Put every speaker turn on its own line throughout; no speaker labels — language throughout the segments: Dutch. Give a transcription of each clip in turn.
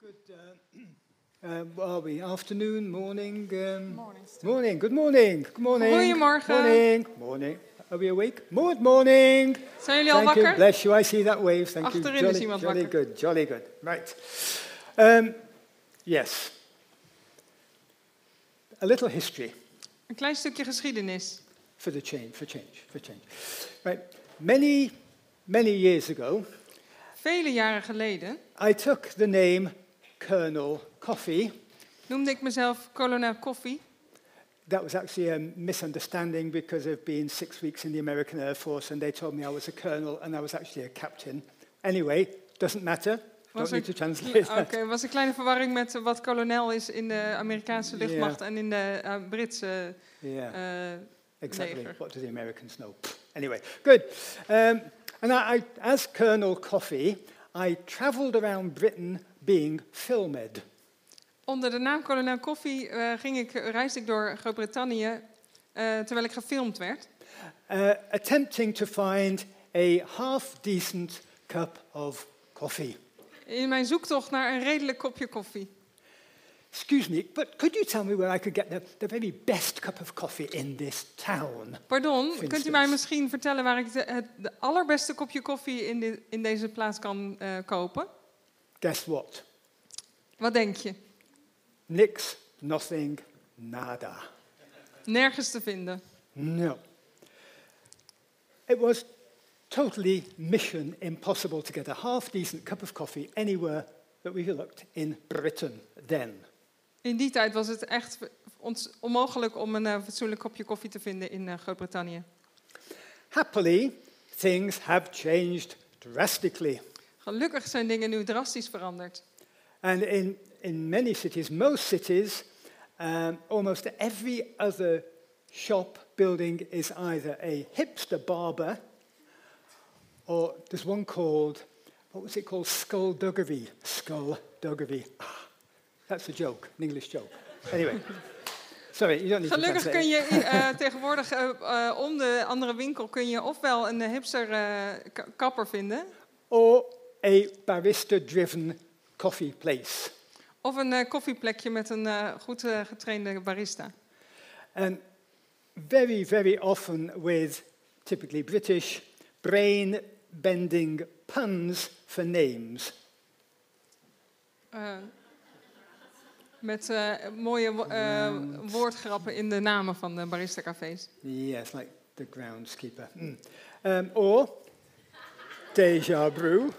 Good, uh, uh, what are we? Afternoon, morning? Um,
Morning.
morning, good morning. Good morning.
Goedemorgen.
Morning. Morning. Are we awake? Good morning.
Zijn jullie al
Thank you.
wakker?
Bless you. I see that wave. Thank you.
Achterin is
jolly,
iemand
jolly
wakker.
good. Jolly good. Right. Um, yes. A little history
Een klein stukje geschiedenis.
for the change, for change, for change. Right. Many, many years ago,
Vele jaren geleden
I took the name Colonel Coffee.
noemde ik mezelf kolonel Koffie.
That was actually a misunderstanding because of being six weeks in the American Air Force and they told me I was a colonel and I was actually a captain. Anyway, doesn't matter.
Was
Don't need
er-
to
Oké,
translate that.
was een kleine verwarring met wat kolonel is in de Amerikaanse
Ja.
luchtmacht en in de eh, Britse.
Yeah,
eh,
exactly.
neger.
What do the Americans know? Pfft. Anyway, good. Um, and I, I, as Colonel Coffee, I traveled around Britain being filmed.
onder de naam kolonel Koffie eh, ging ik, reisde ik door Groot-Brittannië eh, terwijl ik gefilmd werd.
uh, attempting to find a half decent cup of coffee.
In mijn zoektocht naar een redelijk kopje koffie.
Excuse me, but could you tell me where I could get the, the very best cup of coffee in this town?
Pardon, kunt u
instance.
mij misschien vertellen waar ik de, het de allerbeste kopje koffie in, de- in deze plaats kan eh, kopen?
Guess what?
Wat denk je?
Nix, nothing, nada.
Nergens te vinden.
No. It was totally mission impossible to get a half decent cup of coffee anywhere that we looked in Britain then.
In die tijd was het echt ons onmogelijk om een eh, fatsoenlijk kopje koffie te vinden in eh, Groot-Brittannië.
Happily, things have changed drastically.
Gelukkig zijn dingen nu drastisch veranderd.
And in, in many cities, most cities, um, almost every other shop building is either a hipster barber or there's one called, what was it called? Skullduggery. Skullduggery. Ah, That's a joke, an English joke. Anyway, sorry, you don't need
Gelukkig
to
kun
translate.
je eh, tegenwoordig eh, eh, om de andere winkel kun je ofwel een hipster eh, ka- kapper vinden,
Or a barista driven coffee place.
of een eh, koffieplekje met een eh, goed eh, getrainde barista.
And very, very often with typically British brain bending puns for names.
Eh, met eh, mooie wo- eh, woordgrappen in de namen van de barista-cafés.
Yes, like the groundskeeper. Mm. Um, or deja brew.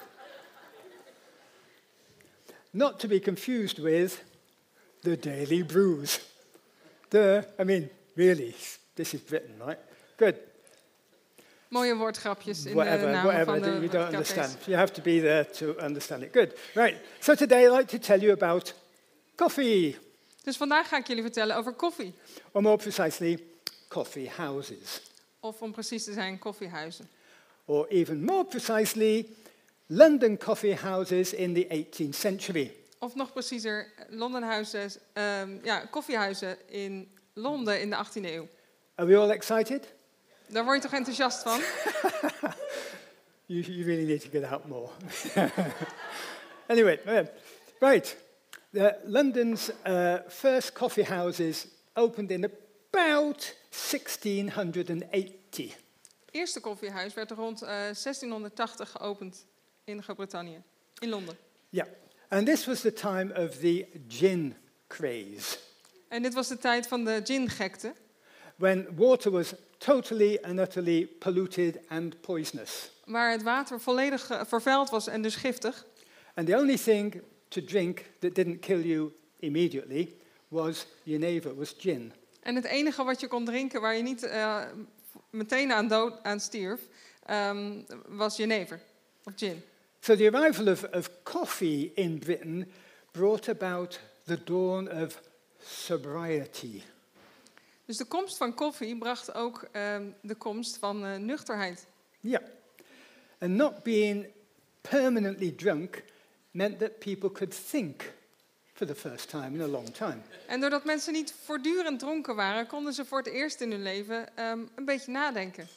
Not to be confused with the daily brews. Duh, I mean, really, this is Britain, right? Good.
Mooie woordgrapjes in de
whatever,
namen
whatever
van de
that you don't
cafés.
understand. You have to be there to understand it. Good. Right. So today I'd like to tell you about coffee,
Dus vandaag ga ik jullie vertellen over koffie.
or more precisely, coffee houses,
Of om precies te zijn, koffiehuizen.
or even more precisely, London coffee houses in the 18th century.
Of nog preciezer, Londenhuizen, ehm, ja, koffiehuizen in Londen in de 18e eeuw.
Are we all excited?
Daar word je toch enthousiast van?
You, you really need to get out more. anyway, uh, right. The, London's uh, first coffee houses opened in about 1680.
Het eerste koffiehuis werd rond eh, 1680 geopend in Groot-Brittannië, in Londen.
Yeah, and this was the time of the gin craze,
En dit was de tijd van de gin-gekte.
when water was totally and utterly polluted and poisonous.
waar het water volledig eh, vervuild was en dus giftig.
And the only thing to drink that didn't kill you immediately was Geneva, was gin.
En het enige wat je kon drinken waar je niet eh, meteen aan, dood, aan stierf, ehm, was jenever of gin.
So the arrival of, of coffee in Britain brought about the dawn of sobriety.
Dus de komst van koffie bracht ook ehm, de komst van eh, nuchterheid.
Yeah. And not being permanently drunk meant that people could think for the first time in a long time.
En doordat mensen niet voortdurend dronken waren, konden ze voor het eerst in hun leven ehm, een beetje nadenken.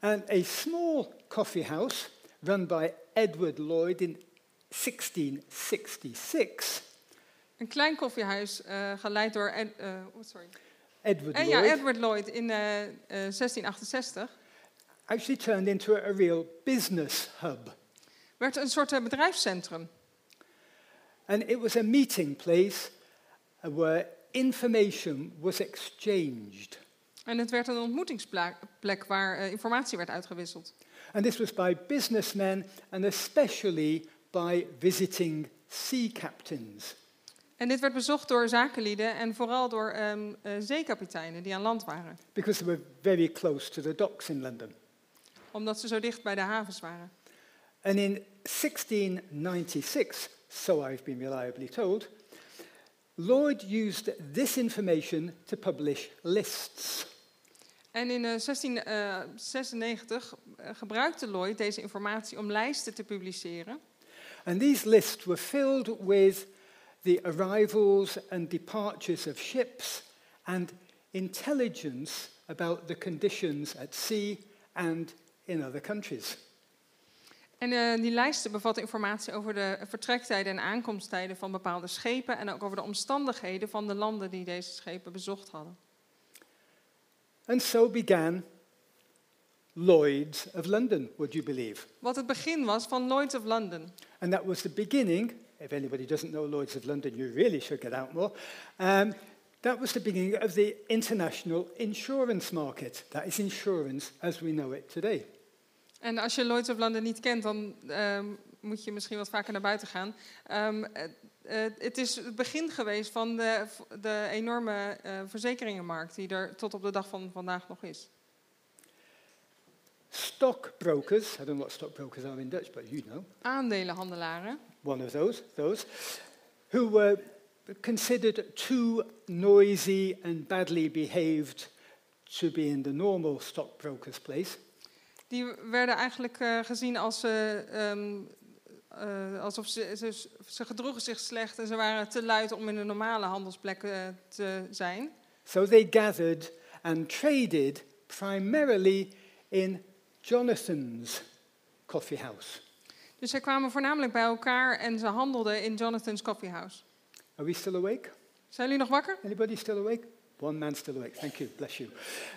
And a small coffee house run by Edward Lloyd in 1666,
Een klein koffiehuis, eh, geleid door Ed- eh, oh, sorry.
Edward
Eh,
Lloyd
ja, Edward Lloyd in eh, eh, 1668
actually turned into a real business hub.
werd een soort eh, bedrijfscentrum.
And it was a meeting place uh, where information was exchanged.
En het werd een ontmoetingsplek waar eh, informatie werd uitgewisseld.
And this was by businessmen and especially by visiting sea captains.
En dit werd bezocht door zakenlieden en vooral door ehm, eh, zeekapiteinen die aan land waren.
because they were very close to the docks in London.
Omdat ze zo dicht bij de havens waren.
And in 1696, so I've been reliably told, Lloyd used this information to publish lists.
En in eh, 1696 eh, gebruikte Lloyd deze informatie om lijsten te publiceren.
And these lists were filled with the arrivals and departures of ships and intelligence about the conditions at sea and in other countries.
En eh, die lijsten bevatten informatie over de vertrektijden en aankomsttijden van bepaalde schepen en ook over de omstandigheden van de landen die deze schepen bezocht hadden.
And so began Lloyd's of London, would you believe?
Wat het begin was van Lloyds of London.
And that was the beginning. If anybody doesn't know Lloyds of London, you really should get out more. Um, that was the beginning of the international insurance market. That is insurance as we know it today.
En als je Lloyds of London niet kent, dan ehm, moet je misschien wat vaker naar buiten gaan. Ehm, eh, eh, het is het begin geweest van de, de enorme eh, verzekeringenmarkt die er tot op de dag van vandaag nog is.
Stockbrokers, I don't know what stockbrokers are in Dutch, but you know,
Aandelenhandelaren.
one of those, those, who were considered too noisy and badly behaved to be in the normal stockbroker's place.
Die werden eigenlijk eh, gezien als ze, ehm, eh, alsof ze, ze, ze gedroegen zich slecht en ze waren te luid om in de normale handelsplekken eh, te zijn.
So they gathered and traded primarily in Jonathan's coffee house.
Dus zij kwamen voornamelijk bij elkaar en ze handelden in Jonathan's Coffee House.
Are we still awake?
Zijn jullie nog wakker?
Anybody still awake? One man still awake. Thank you. Bless you.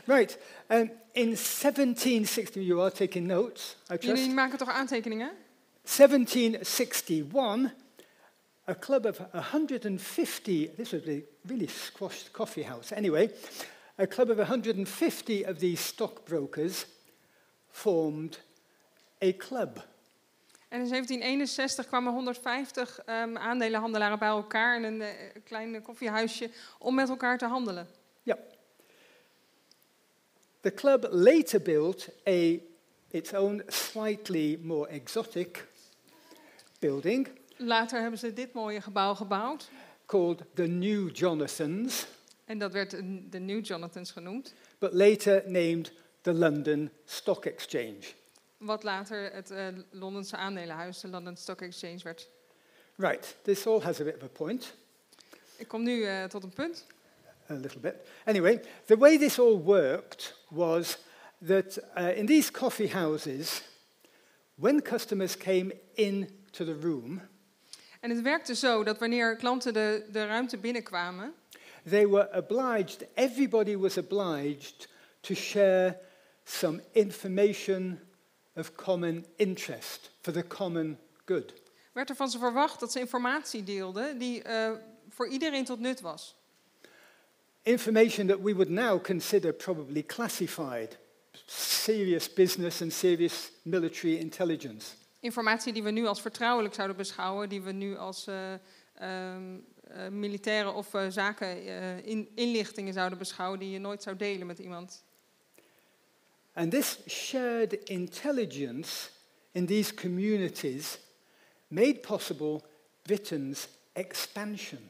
Right. Um, in 1760, you are taking notes, I trust.
Jullie maken toch aantekeningen?
1761, a club of 150, this was a really squashed coffee house. Anyway, a club of 150 of these stockbrokers formed a club.
En in 1761 kwamen 150 ehm, aandelenhandelaren bij elkaar in een eh, klein koffiehuisje om met elkaar te handelen.
The club later built a, its own slightly more exotic building
Later hebben ze dit mooie gebouw gebouwd.
called the New Jonathans,
En dat werd een- de New Jonathans genoemd.
but later named the London Stock Exchange.
Wat later het eh, Londense aandelenhuis, de London Stock Exchange, werd.
Right, this all has a bit of a point,
Ik kom nu eh, tot een punt.
a little bit. Anyway, the way this all worked was that uh, in these coffee houses, when customers came into the room,
En het werkte zo dat wanneer klanten de, de ruimte binnenkwamen,
they were obliged, everybody was obliged to share some information of common interest for the common good.
werd er van ze verwacht dat ze informatie deelden die eh, voor iedereen tot nut was.
Information that we would now consider probably classified serious business and serious military intelligence.
Informatie die we nu als vertrouwelijk zouden beschouwen, die we nu als eh, ehm, eh, militaire of eh, zaken eh, in, inlichtingen zouden beschouwen, die je nooit zou delen met iemand.
And this shared intelligence in these communities made possible Britain's expansion.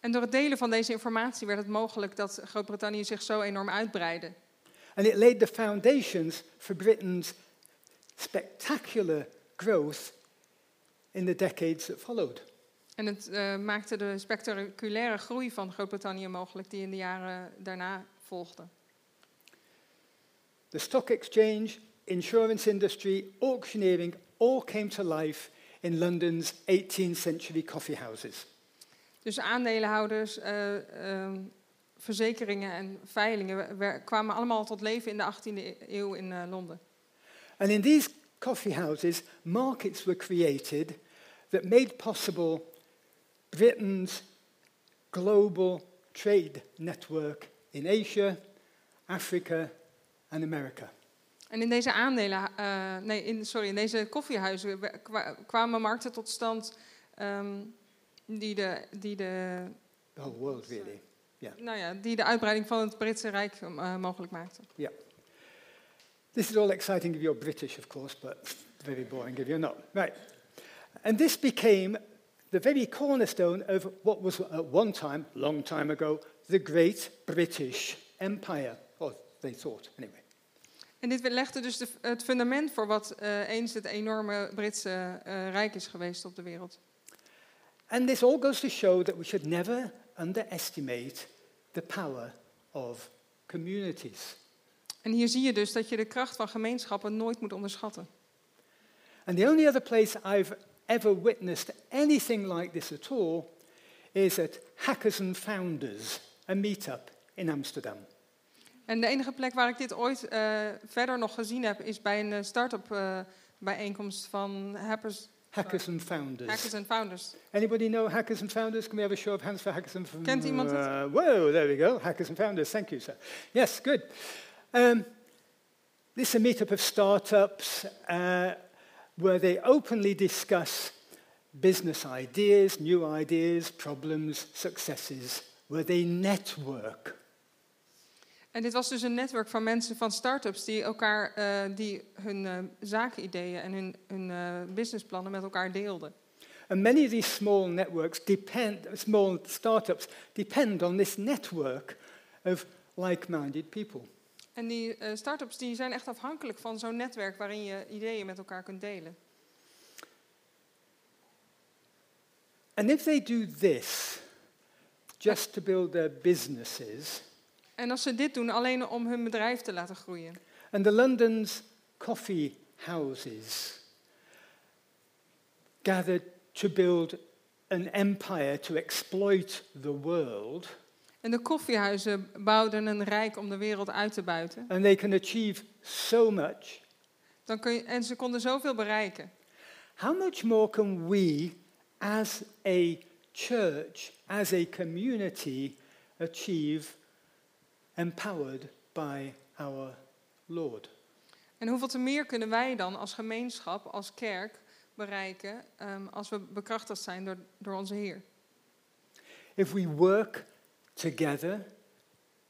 En door het delen van deze informatie werd het mogelijk dat Groot-Brittannië zich zo enorm uitbreidde.
And it laid the foundations for Britain's spectacular growth in the decades that followed.
En het eh, maakte de spectaculaire groei van Groot-Brittannië mogelijk die in de jaren daarna volgde.
The stock exchange, insurance industry, auctioneering all came to life in London's 18th century coffee houses.
Dus aandelenhouders, eh, ehm, verzekeringen en veilingen wer- kwamen allemaal tot leven in de 18e eeuw in eh, Londen.
And in these coffee houses, markets were created that made possible Britain's global trade network in Asia, Africa, and America.
En in deze aandelen, eh, nee, in, sorry, in deze koffiehuizen we- kwa- kwamen markten tot stand ehm, die, de, die, de,
The whole world, really.
nou ja, die de uitbreiding van het Britse Rijk eh, mogelijk maakten.
This is all exciting if you're British, of course, but very boring if you're not. Right. And this became the very cornerstone of what was at one time, long time ago, the Great British Empire. Or they thought, anyway.
En dit legde dus de, het fundament voor wat eh, eens het enorme Britse eh, Rijk is geweest op de wereld.
And this all goes to show that we should never underestimate the power of communities.
En hier zie je dus dat je de kracht van gemeenschappen nooit moet onderschatten.
And the only other place I've ever witnessed anything like this at all is at Hackers and Founders, a meetup in Amsterdam.
En de enige plek waar ik dit ooit eh, verder nog gezien heb, is bij een eh, start-up eh, bijeenkomst van hackers,
Hackers and Founders.
hackers and founders.
Anybody know Hackers and Founders? Can we have a show of hands for Hackers and Founders?
Kent iemand het?
Uh, whoa, there we go. Hackers and Founders. Thank you, sir. Yes, good. Um, this is a meetup of startups uh, where they openly discuss business ideas, new ideas, problems, successes, where they network.
En dit was dus een netwerk van mensen van start-ups die elkaar eh, die hun eh, zaakideeën en hun, hun eh, businessplannen met elkaar deelden.
And many of these small networks depend, small startups depend on this network of like-minded people.
En die eh start-ups die zijn echt afhankelijk van zo'n netwerk waarin je ideeën met elkaar kunt delen.
And if they do this just to build their businesses,
En als ze dit doen alleen om hun bedrijf te laten groeien.
and the London's coffee houses gathered to build an empire to exploit the world,
En de koffiehuizen bouwden een rijk om de wereld uit te buiten.
and they can achieve so much,
Dan kun je, en ze konden zoveel bereiken.
how much more can we, as a church, as a community, achieve empowered by our Lord?
En hoeveel te meer kunnen wij dan als gemeenschap, als kerk bereiken ehm, als we bekrachtigd zijn door, door onze Heer?
If we work together,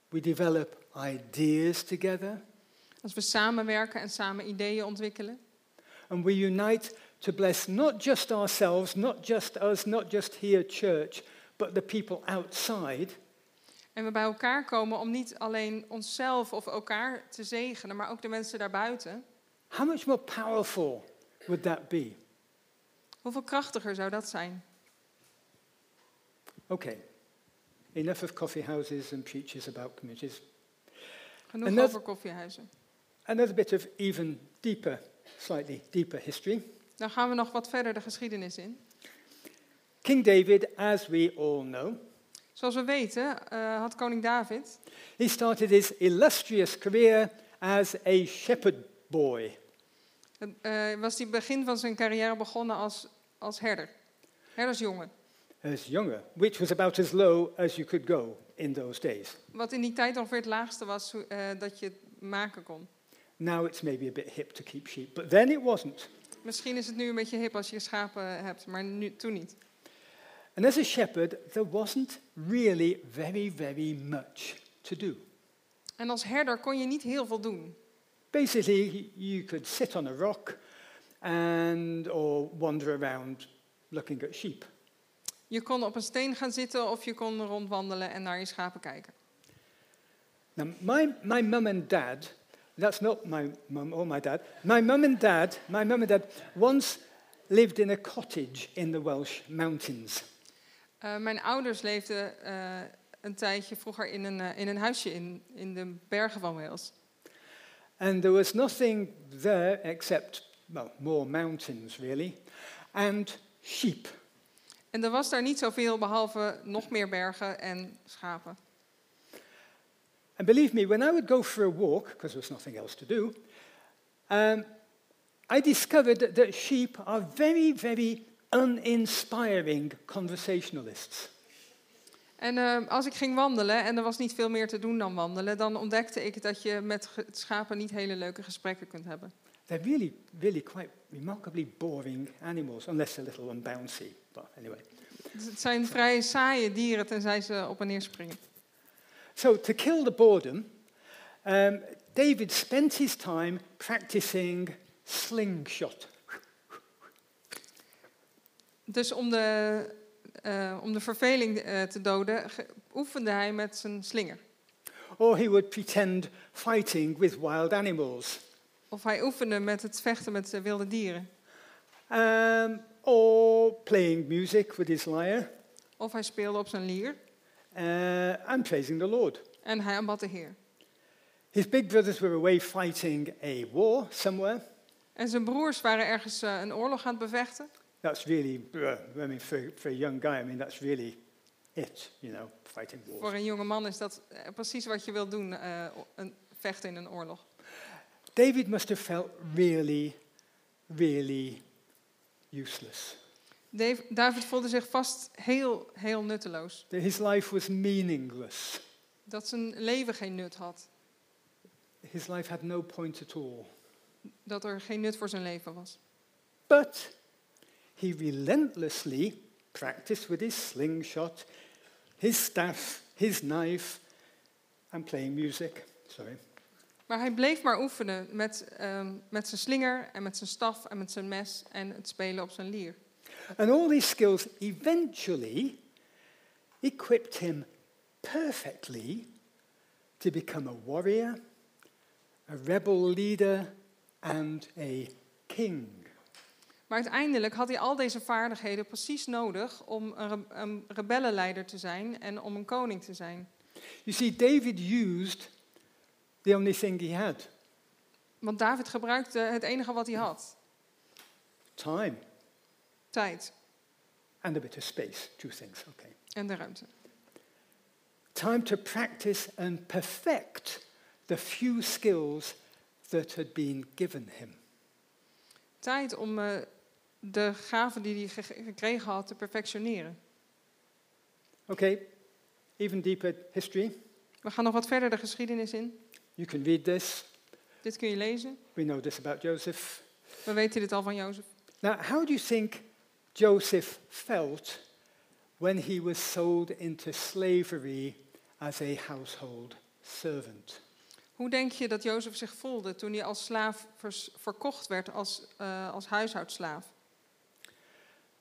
we develop ideas together,
Als we samenwerken en samen ideeën ontwikkelen.
and we unite to bless not just ourselves, not just us, not just here, church, but the people outside,
En we bij elkaar komen om niet alleen onszelf of elkaar te zegenen, maar ook de mensen daarbuiten.
how much more powerful would that be?
Hoeveel krachtiger zou dat zijn?
Okay, enough of coffee houses and preachers about communities.
Genoeg
En dat-
over koffiehuizen.
Another bit of even deeper, slightly deeper history.
Dan gaan we nog wat verder de geschiedenis in.
King David, as we all know,
Zoals we weten eh, had koning David
he started his illustrious career as a shepherd boy.
eh, was hij begin van zijn carrière begonnen als, als herder, herdersjongen.
as younger, which was about as low as you could go in those days.
Wat in die tijd ongeveer het laagste was hoe- eh, dat je het maken kon.
Now it's maybe a bit hip to keep sheep, but then it wasn't.
Misschien is het nu een beetje hip als je schapen hebt, maar nu, toen niet.
And as a shepherd, there wasn't really very, very much to do.
En als herder kon je niet heel veel doen.
Basically, you could sit on a rock and or wander around looking at sheep.
Je kon op een steen gaan zitten of je kon rondwandelen en naar je schapen kijken.
Now, my, my mum and dad, that's not my mum or my dad, my mum and dad, my mum and dad once lived in a cottage in the Welsh mountains.
Eh, mijn ouders leefden eh, een tijdje vroeger in een, eh, in een huisje in, in de bergen van Wales.
And there was nothing there except, well, more mountains, really. and sheep.
En er was daar niet zoveel behalve nog meer bergen en schapen.
And believe me, when I would go for a walk, because there was nothing else to do, um, I discovered that, that sheep are very, very uninspiring conversationalists.
En eh, als ik ging wandelen en er was niet veel meer te doen dan wandelen, dan ontdekte ik dat je met ge- schapen niet hele leuke gesprekken kunt hebben.
They're really, really quite remarkably boring animals, unless they're a little and bouncy. But anyway.
Dus het zijn vrij saaie dieren tenzij ze op en neer springen.
So, to kill the boredom, um, David spent his time practicing slingshot.
Dus om de, eh, om de verveling eh, te doden, ge- oefende hij met zijn slinger.
Or he would pretend fighting with wild animals.
Of hij oefende met het vechten met eh, wilde dieren.
Um, or playing music with his lyre
Of hij speelde op zijn lier
uh, and praising the Lord.
en hij aanbad de Heer.
His big brothers were away fighting a war somewhere.
En zijn broers waren ergens eh, een oorlog aan het bevechten.
That's really, uh, I mean, for, for a young guy, I mean, that's really it, you know, fighting wars.
Voor een jonge man is dat eh, precies wat je wilt doen, eh, o- een, vechten in een oorlog.
David must have felt really, really useless.
Dave- David voelde zich vast heel, heel nutteloos.
That his life was meaningless.
Dat zijn leven geen nut had.
His life had no point at all.
Dat er geen nut voor zijn leven was.
But he relentlessly practiced with his slingshot, his staff, his knife, and playing music. Sorry.
Maar hij bleef maar oefenen met, ehm, met zijn slinger en met zijn staf en met zijn mes en het spelen op zijn lier.
And all these skills eventually equipped him perfectly to become a warrior, a rebel leader, and a king.
Maar uiteindelijk had hij al deze vaardigheden precies nodig om een, re- een rebellenleider te zijn en om een koning te zijn.
You see, David used the only thing he had
Want David gebruikte het enige wat hij had,
time
tijd
and a bit of space, two things, okay.
en de ruimte.
Time to practice and perfect the few skills that had been given him.
Tijd om eh, de gaven die hij ge- gekregen had te perfectioneren.
Okay, even deeper history.
We gaan nog wat verder de geschiedenis in.
You can read this.
Dit kun je lezen.
We know this about Joseph.
We weten dit al van Jozef.
Now, how do you think Joseph felt when he was sold into slavery as a household servant?
Hoe denk je dat Jozef zich voelde toen hij als slaaf vers- verkocht werd als, eh, als huishoudslaaf?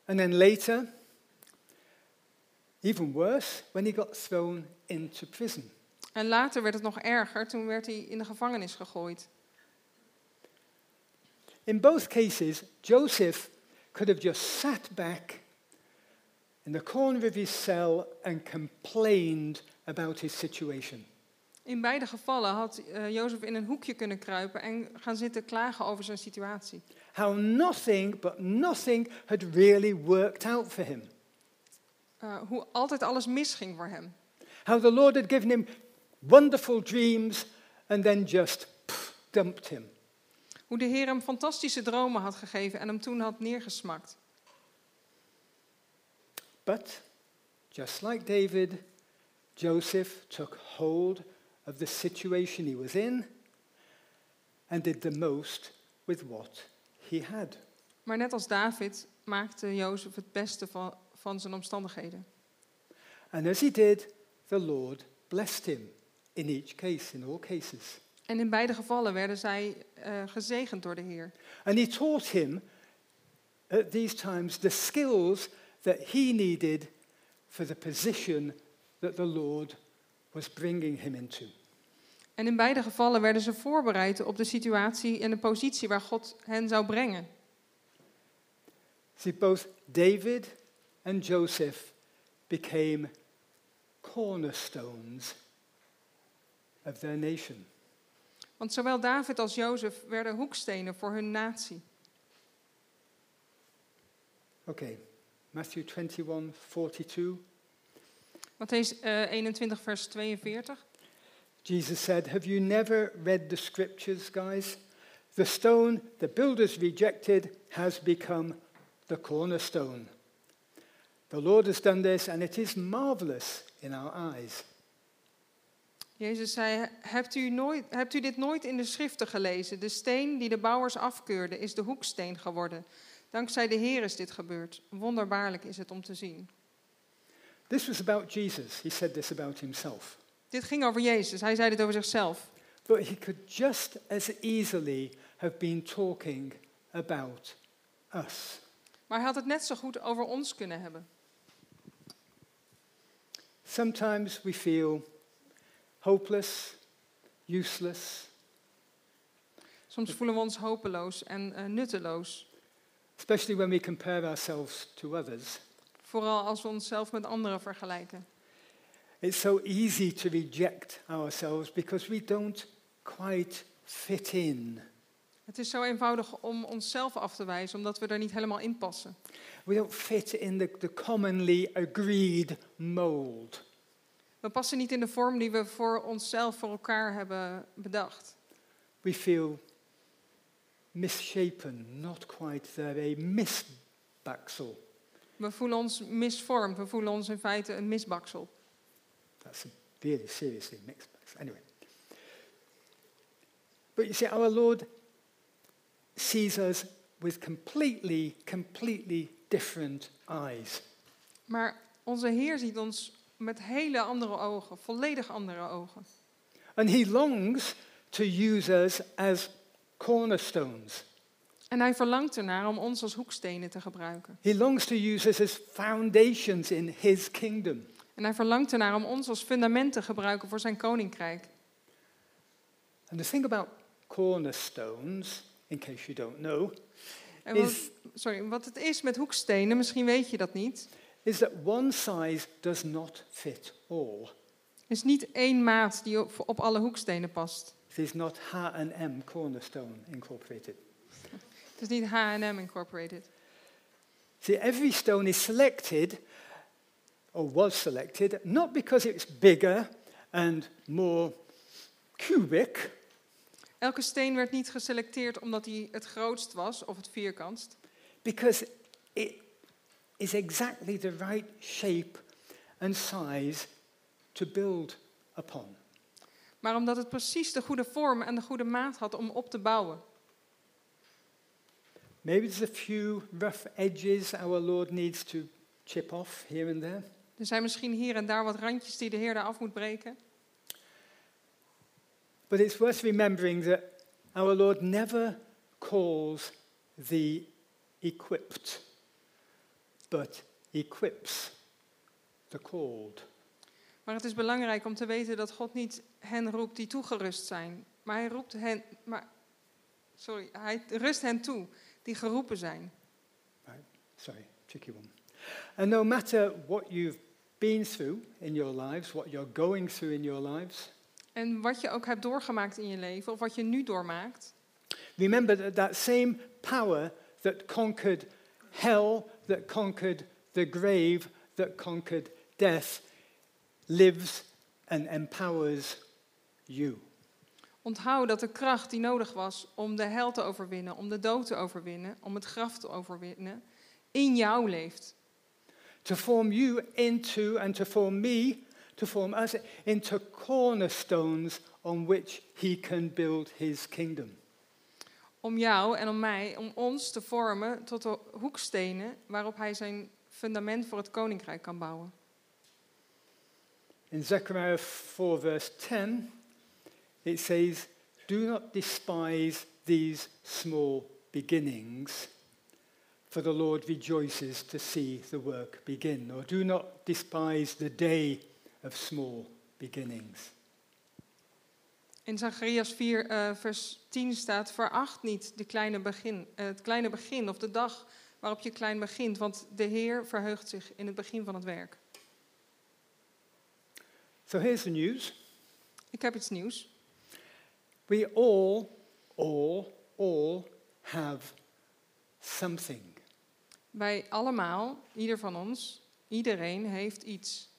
And then later, even worse, when he got thrown into prison.
En later werd het nog erger, toen werd hij in de gevangenis gegooid.
In both cases, Joseph could have just sat back in the corner of his cell and complained about his situation.
In beide gevallen had eh, Jozef in een hoekje kunnen kruipen en gaan zitten klagen over zijn situatie.
How nothing, but nothing, had really worked out for him.
Eh, hoe altijd alles misging voor hem.
How the Lord had given him wonderful dreams and then just pff, dumped him.
Hoe de Heer hem fantastische dromen had gegeven en hem toen had neergesmakt.
But just like David, Joseph took hold of the situation he was in and did the most with what he had.
Maar net als David maakte Jozef het beste van, van zijn omstandigheden.
And as he did, the Lord blessed him in each case, in all cases.
En in beide gevallen werden zij eh, gezegend door de Heer.
And he taught him at these times the skills that he needed for the position that the Lord was bringing him into.
En in beide gevallen werden ze voorbereid op de situatie en de positie waar God hen zou brengen.
See, both David and Joseph became cornerstones of their nation.
Want zowel David als Jozef werden hoekstenen voor hun natie.
Okay, Matthew 21, 42.
Matthäus eh, 21, vers 42.
Jesus said, Have you never read the scriptures, guys? The stone the builders rejected has become the cornerstone. The Lord has done this, and it is marvelous in our eyes.
Jezus zei, hebt u, nooit, hebt u dit nooit in de schriften gelezen? De steen die de bouwers afkeurden is de hoeksteen geworden. Dankzij de Heer is dit gebeurd. Wonderbaarlijk is het om te zien.
This was about Jesus. He said this about himself.
Dit ging over Jezus. Hij zei dit over zichzelf.
But he could just as easily have been talking about us.
Maar hij had het net zo goed over ons kunnen hebben.
Sometimes we feel hopeless, useless,
Soms voelen we ons hopeloos en eh, nutteloos.
especially when we compare ourselves to others.
Vooral als we onszelf met anderen vergelijken.
It's so easy to reject ourselves because we don't quite fit in.
Het is zo eenvoudig om onszelf af te wijzen, omdat we er niet helemaal in passen.
We don't fit in the, the commonly agreed mold.
We passen niet in de vorm die we voor onszelf, voor elkaar hebben bedacht.
We feel misshapen, not quite there, a misbaxel.
We voelen ons misvormd. We voelen ons in feite een misbaksel.
That's a really seriously mixed bags. Anyway. But you see, our Lord sees us with completely, completely different eyes.
Maar onze Heer ziet ons met hele andere ogen, volledig andere ogen.
And He longs to use us as cornerstones.
En hij verlangt ernaar om ons als hoekstenen te gebruiken.
He longs to use us as foundations in His kingdom.
En hij verlangt ernaar om ons als fundament te gebruiken voor zijn koninkrijk.
And the thing about cornerstones, in case you don't know,
En wat,
Is-
sorry, wat het is met hoekstenen, misschien weet je dat niet,
is that one size does not fit all.
is niet één maat die op, op alle hoekstenen past.
It is not H&M Cornerstone Incorporated.
Het is niet H&M Incorporated.
See, every stone is selected, or was selected, not because it's bigger and more cubic,
Elke steen werd niet geselecteerd omdat hij het grootst was of het vierkantst,
because it is exactly the right shape and size to build upon.
maar omdat het precies de goede vorm en de goede maat had om op te bouwen.
Maybe there's a few rough edges our Lord needs to chip off here and there,
Er zijn misschien hier en daar wat randjes die de Heer eraf moet breken.
but it's worth remembering that our Lord never calls the equipped, but equips the called.
Maar het is belangrijk om te weten dat God niet hen roept die toegerust zijn, maar hij roept hen, maar, sorry, hij rust hen toe die geroepen zijn.
Sorry, tricky one. And no matter what you've been through in your lives, what you're going through in your lives,
En wat je ook hebt doorgemaakt in je leven, of wat je nu doormaakt,
Remember that that same power that conquered hell, that conquered the grave, that conquered death, lives and empowers you.
onthoud dat de kracht die nodig was om de hel te overwinnen, om de dood te overwinnen, om het graf te overwinnen, in jou leeft.
To form you into, and to form me, to form us into cornerstones on which he can build his kingdom.
Om jou en om mij, om ons te vormen tot de hoekstenen waarop hij zijn fundament voor het koninkrijk kan bouwen.
In Zechariah 4, verse 10, it says, Do not despise these small beginnings, for the Lord rejoices to see the work begin. Or do not despise the day of small beginnings.
In Zacharias 4, eh, vers 10 staat: Veracht niet de kleine begin, eh, het kleine begin of de dag waarop je klein begint, want de Heer verheugt zich in het begin van het werk.
So here's the news.
Ik heb iets nieuws.
We all, all, all have something.
Wij allemaal, ieder van ons, iedereen heeft iets.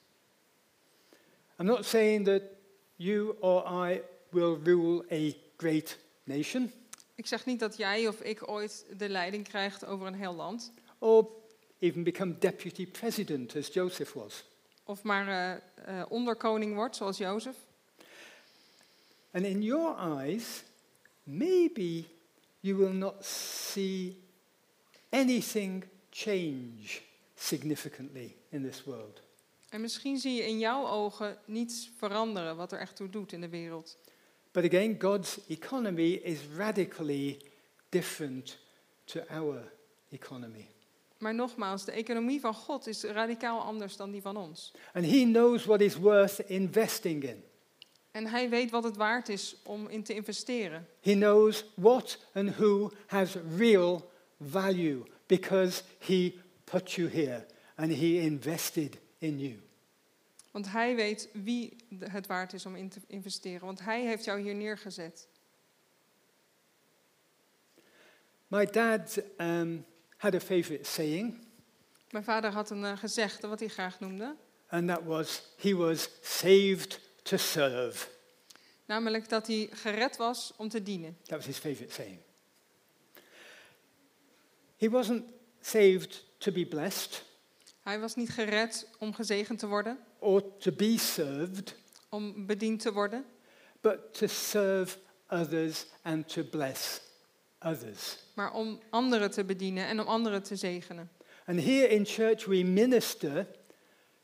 I'm not saying that you or I will rule a great nation
Ik zeg niet dat jij of ik ooit de leiding krijgt over een heel land.
or even become deputy president as Joseph was.
Of maar eh, eh, onderkoning wordt, zoals Jozef.
And in your eyes, maybe you will not see anything change significantly in this world.
En misschien zie je in jouw ogen niets veranderen wat er echt toe doet in de wereld.
But again, God's economy is radically different to our economy.
Maar nogmaals, de economie van God is radicaal anders dan die van ons.
And He knows what is worth investing in.
En hij weet wat het waard is om in te investeren.
He knows what and who has real value because He put you here and He invested in you.
Want hij weet wie de- het waard is om in te investeren. Want hij heeft jou hier neergezet.
My dad um, had a favorite saying,
Mijn vader had een eh, gezegde wat hij graag noemde.
and that was, He was saved to serve.
Namelijk dat hij gered was om te dienen.
That was his favorite saying. He wasn't saved to be blessed
Hij was niet gered om gezegend te worden,
or to be served,
om bediend te worden,
but to serve others and to bless others.
maar om anderen te bedienen en om anderen te zegenen.
And here in church, we minister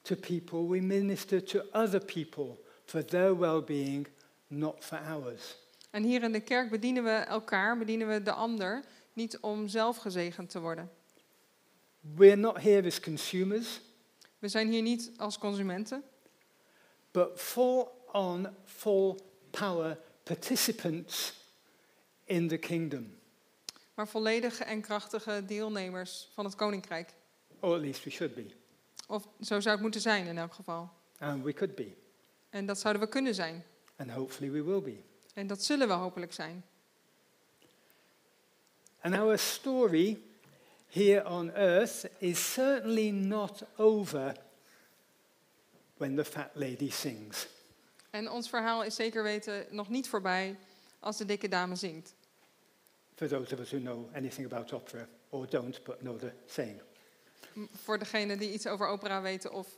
to people, we minister to other people for their well being, not for ours.
En hier in de kerk bedienen we elkaar, bedienen we de ander, niet om zelf gezegend te worden.
We're not here as consumers,
We zijn hier niet als consumenten,
but full on, full power participants in the kingdom.
maar volledige en krachtige deelnemers van het koninkrijk.
Or at least we should be.
Of zo zou het moeten zijn in elk geval.
And we could be.
En dat zouden we kunnen zijn.
And hopefully we will be.
En dat zullen we hopelijk zijn.
And our story here on earth is certainly not over when the fat lady sings.
En ons verhaal is zeker weten nog niet voorbij als de dikke dame zingt.
For those of us who know anything about opera or don't, but know the saying.
M- Voor degene die iets over opera weten of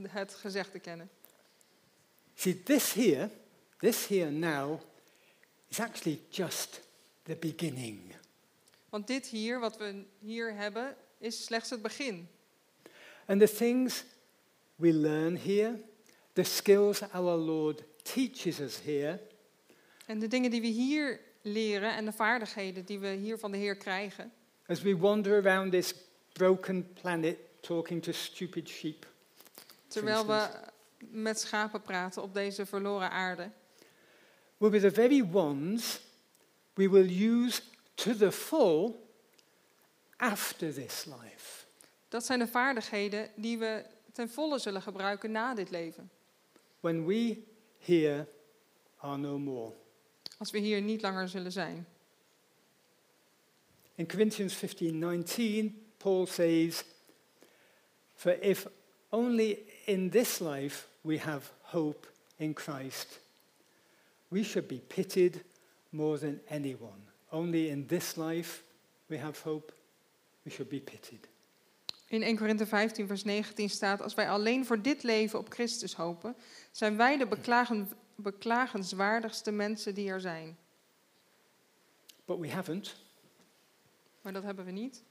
het gezegde kennen.
See, this here, this here now, is actually just the beginning.
Want dit hier, wat we hier hebben, is slechts het begin.
And the things we learn here, the skills our Lord teaches us here,
En de dingen die we hier leren en de vaardigheden die we hier van de Heer krijgen,
As we wander around this broken planet talking to stupid sheep,
terwijl we met schapen praten op deze verloren aarde,
will be the very ones we will use to the full after this life.
dat zijn de vaardigheden die we ten volle zullen gebruiken na dit leven.
When we here are no more.
Als we hier niet langer zullen zijn.
In Corinthians 15:19, Paul says, For if only in this life we have hope in Christ, we should be pitied more than anyone. Only in this life we have hope, we should be pitied.
In 1 Korinthe 15, vers 19 staat: Als wij alleen voor dit leven op Christus hopen, zijn wij de beklagen, beklagenswaardigste mensen die er zijn.
But we haven't,
Maar dat hebben we niet.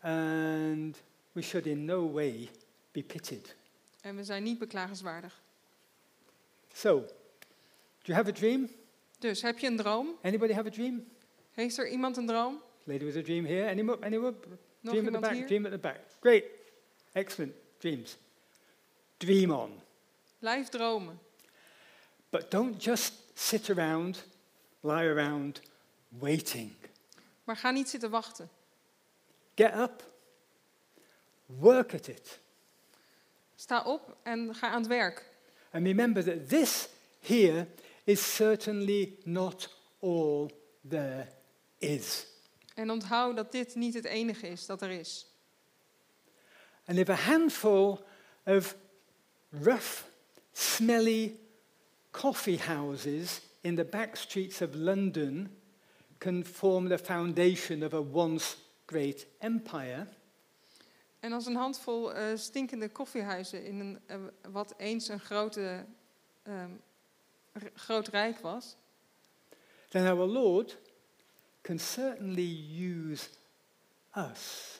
and we should in no way be pitied.
En we zijn niet beklagenswaardig.
So, do you have a dream?
Dus heb je een droom?
Anybody have a dream?
Heeft er iemand een droom?
Lady with a dream here. Anyone? Anyone? dream at
Nog
the
iemand
back,
hier?
dream at the back. Great. Excellent. Dreams. Dream on.
Blijf dromen.
But don't just sit around, lie around, waiting.
Maar ga niet zitten wachten.
Get up, work at it.
Sta op en ga aan het werk.
And remember that this here is certainly not all there is.
En onthoud dat dit niet het enige is dat er is.
and they've a handful of rough, smelly coffee houses in the back streets of London can form the foundation of a once great empire.
En als een handvol eh, stinkende koffiehuizen in een, eh, wat eens een grote, ehm, r- groot rijk was,
then our Lord can certainly use us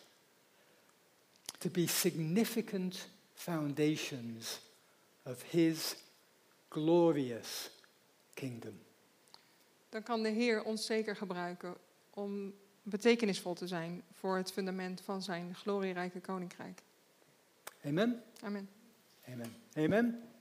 to be significant foundations of His glorious kingdom.
dan kan de Heer ons zeker gebruiken om betekenisvol te zijn voor het fundament van zijn glorierijke koninkrijk.
Amen?
Amen.
Amen. Amen?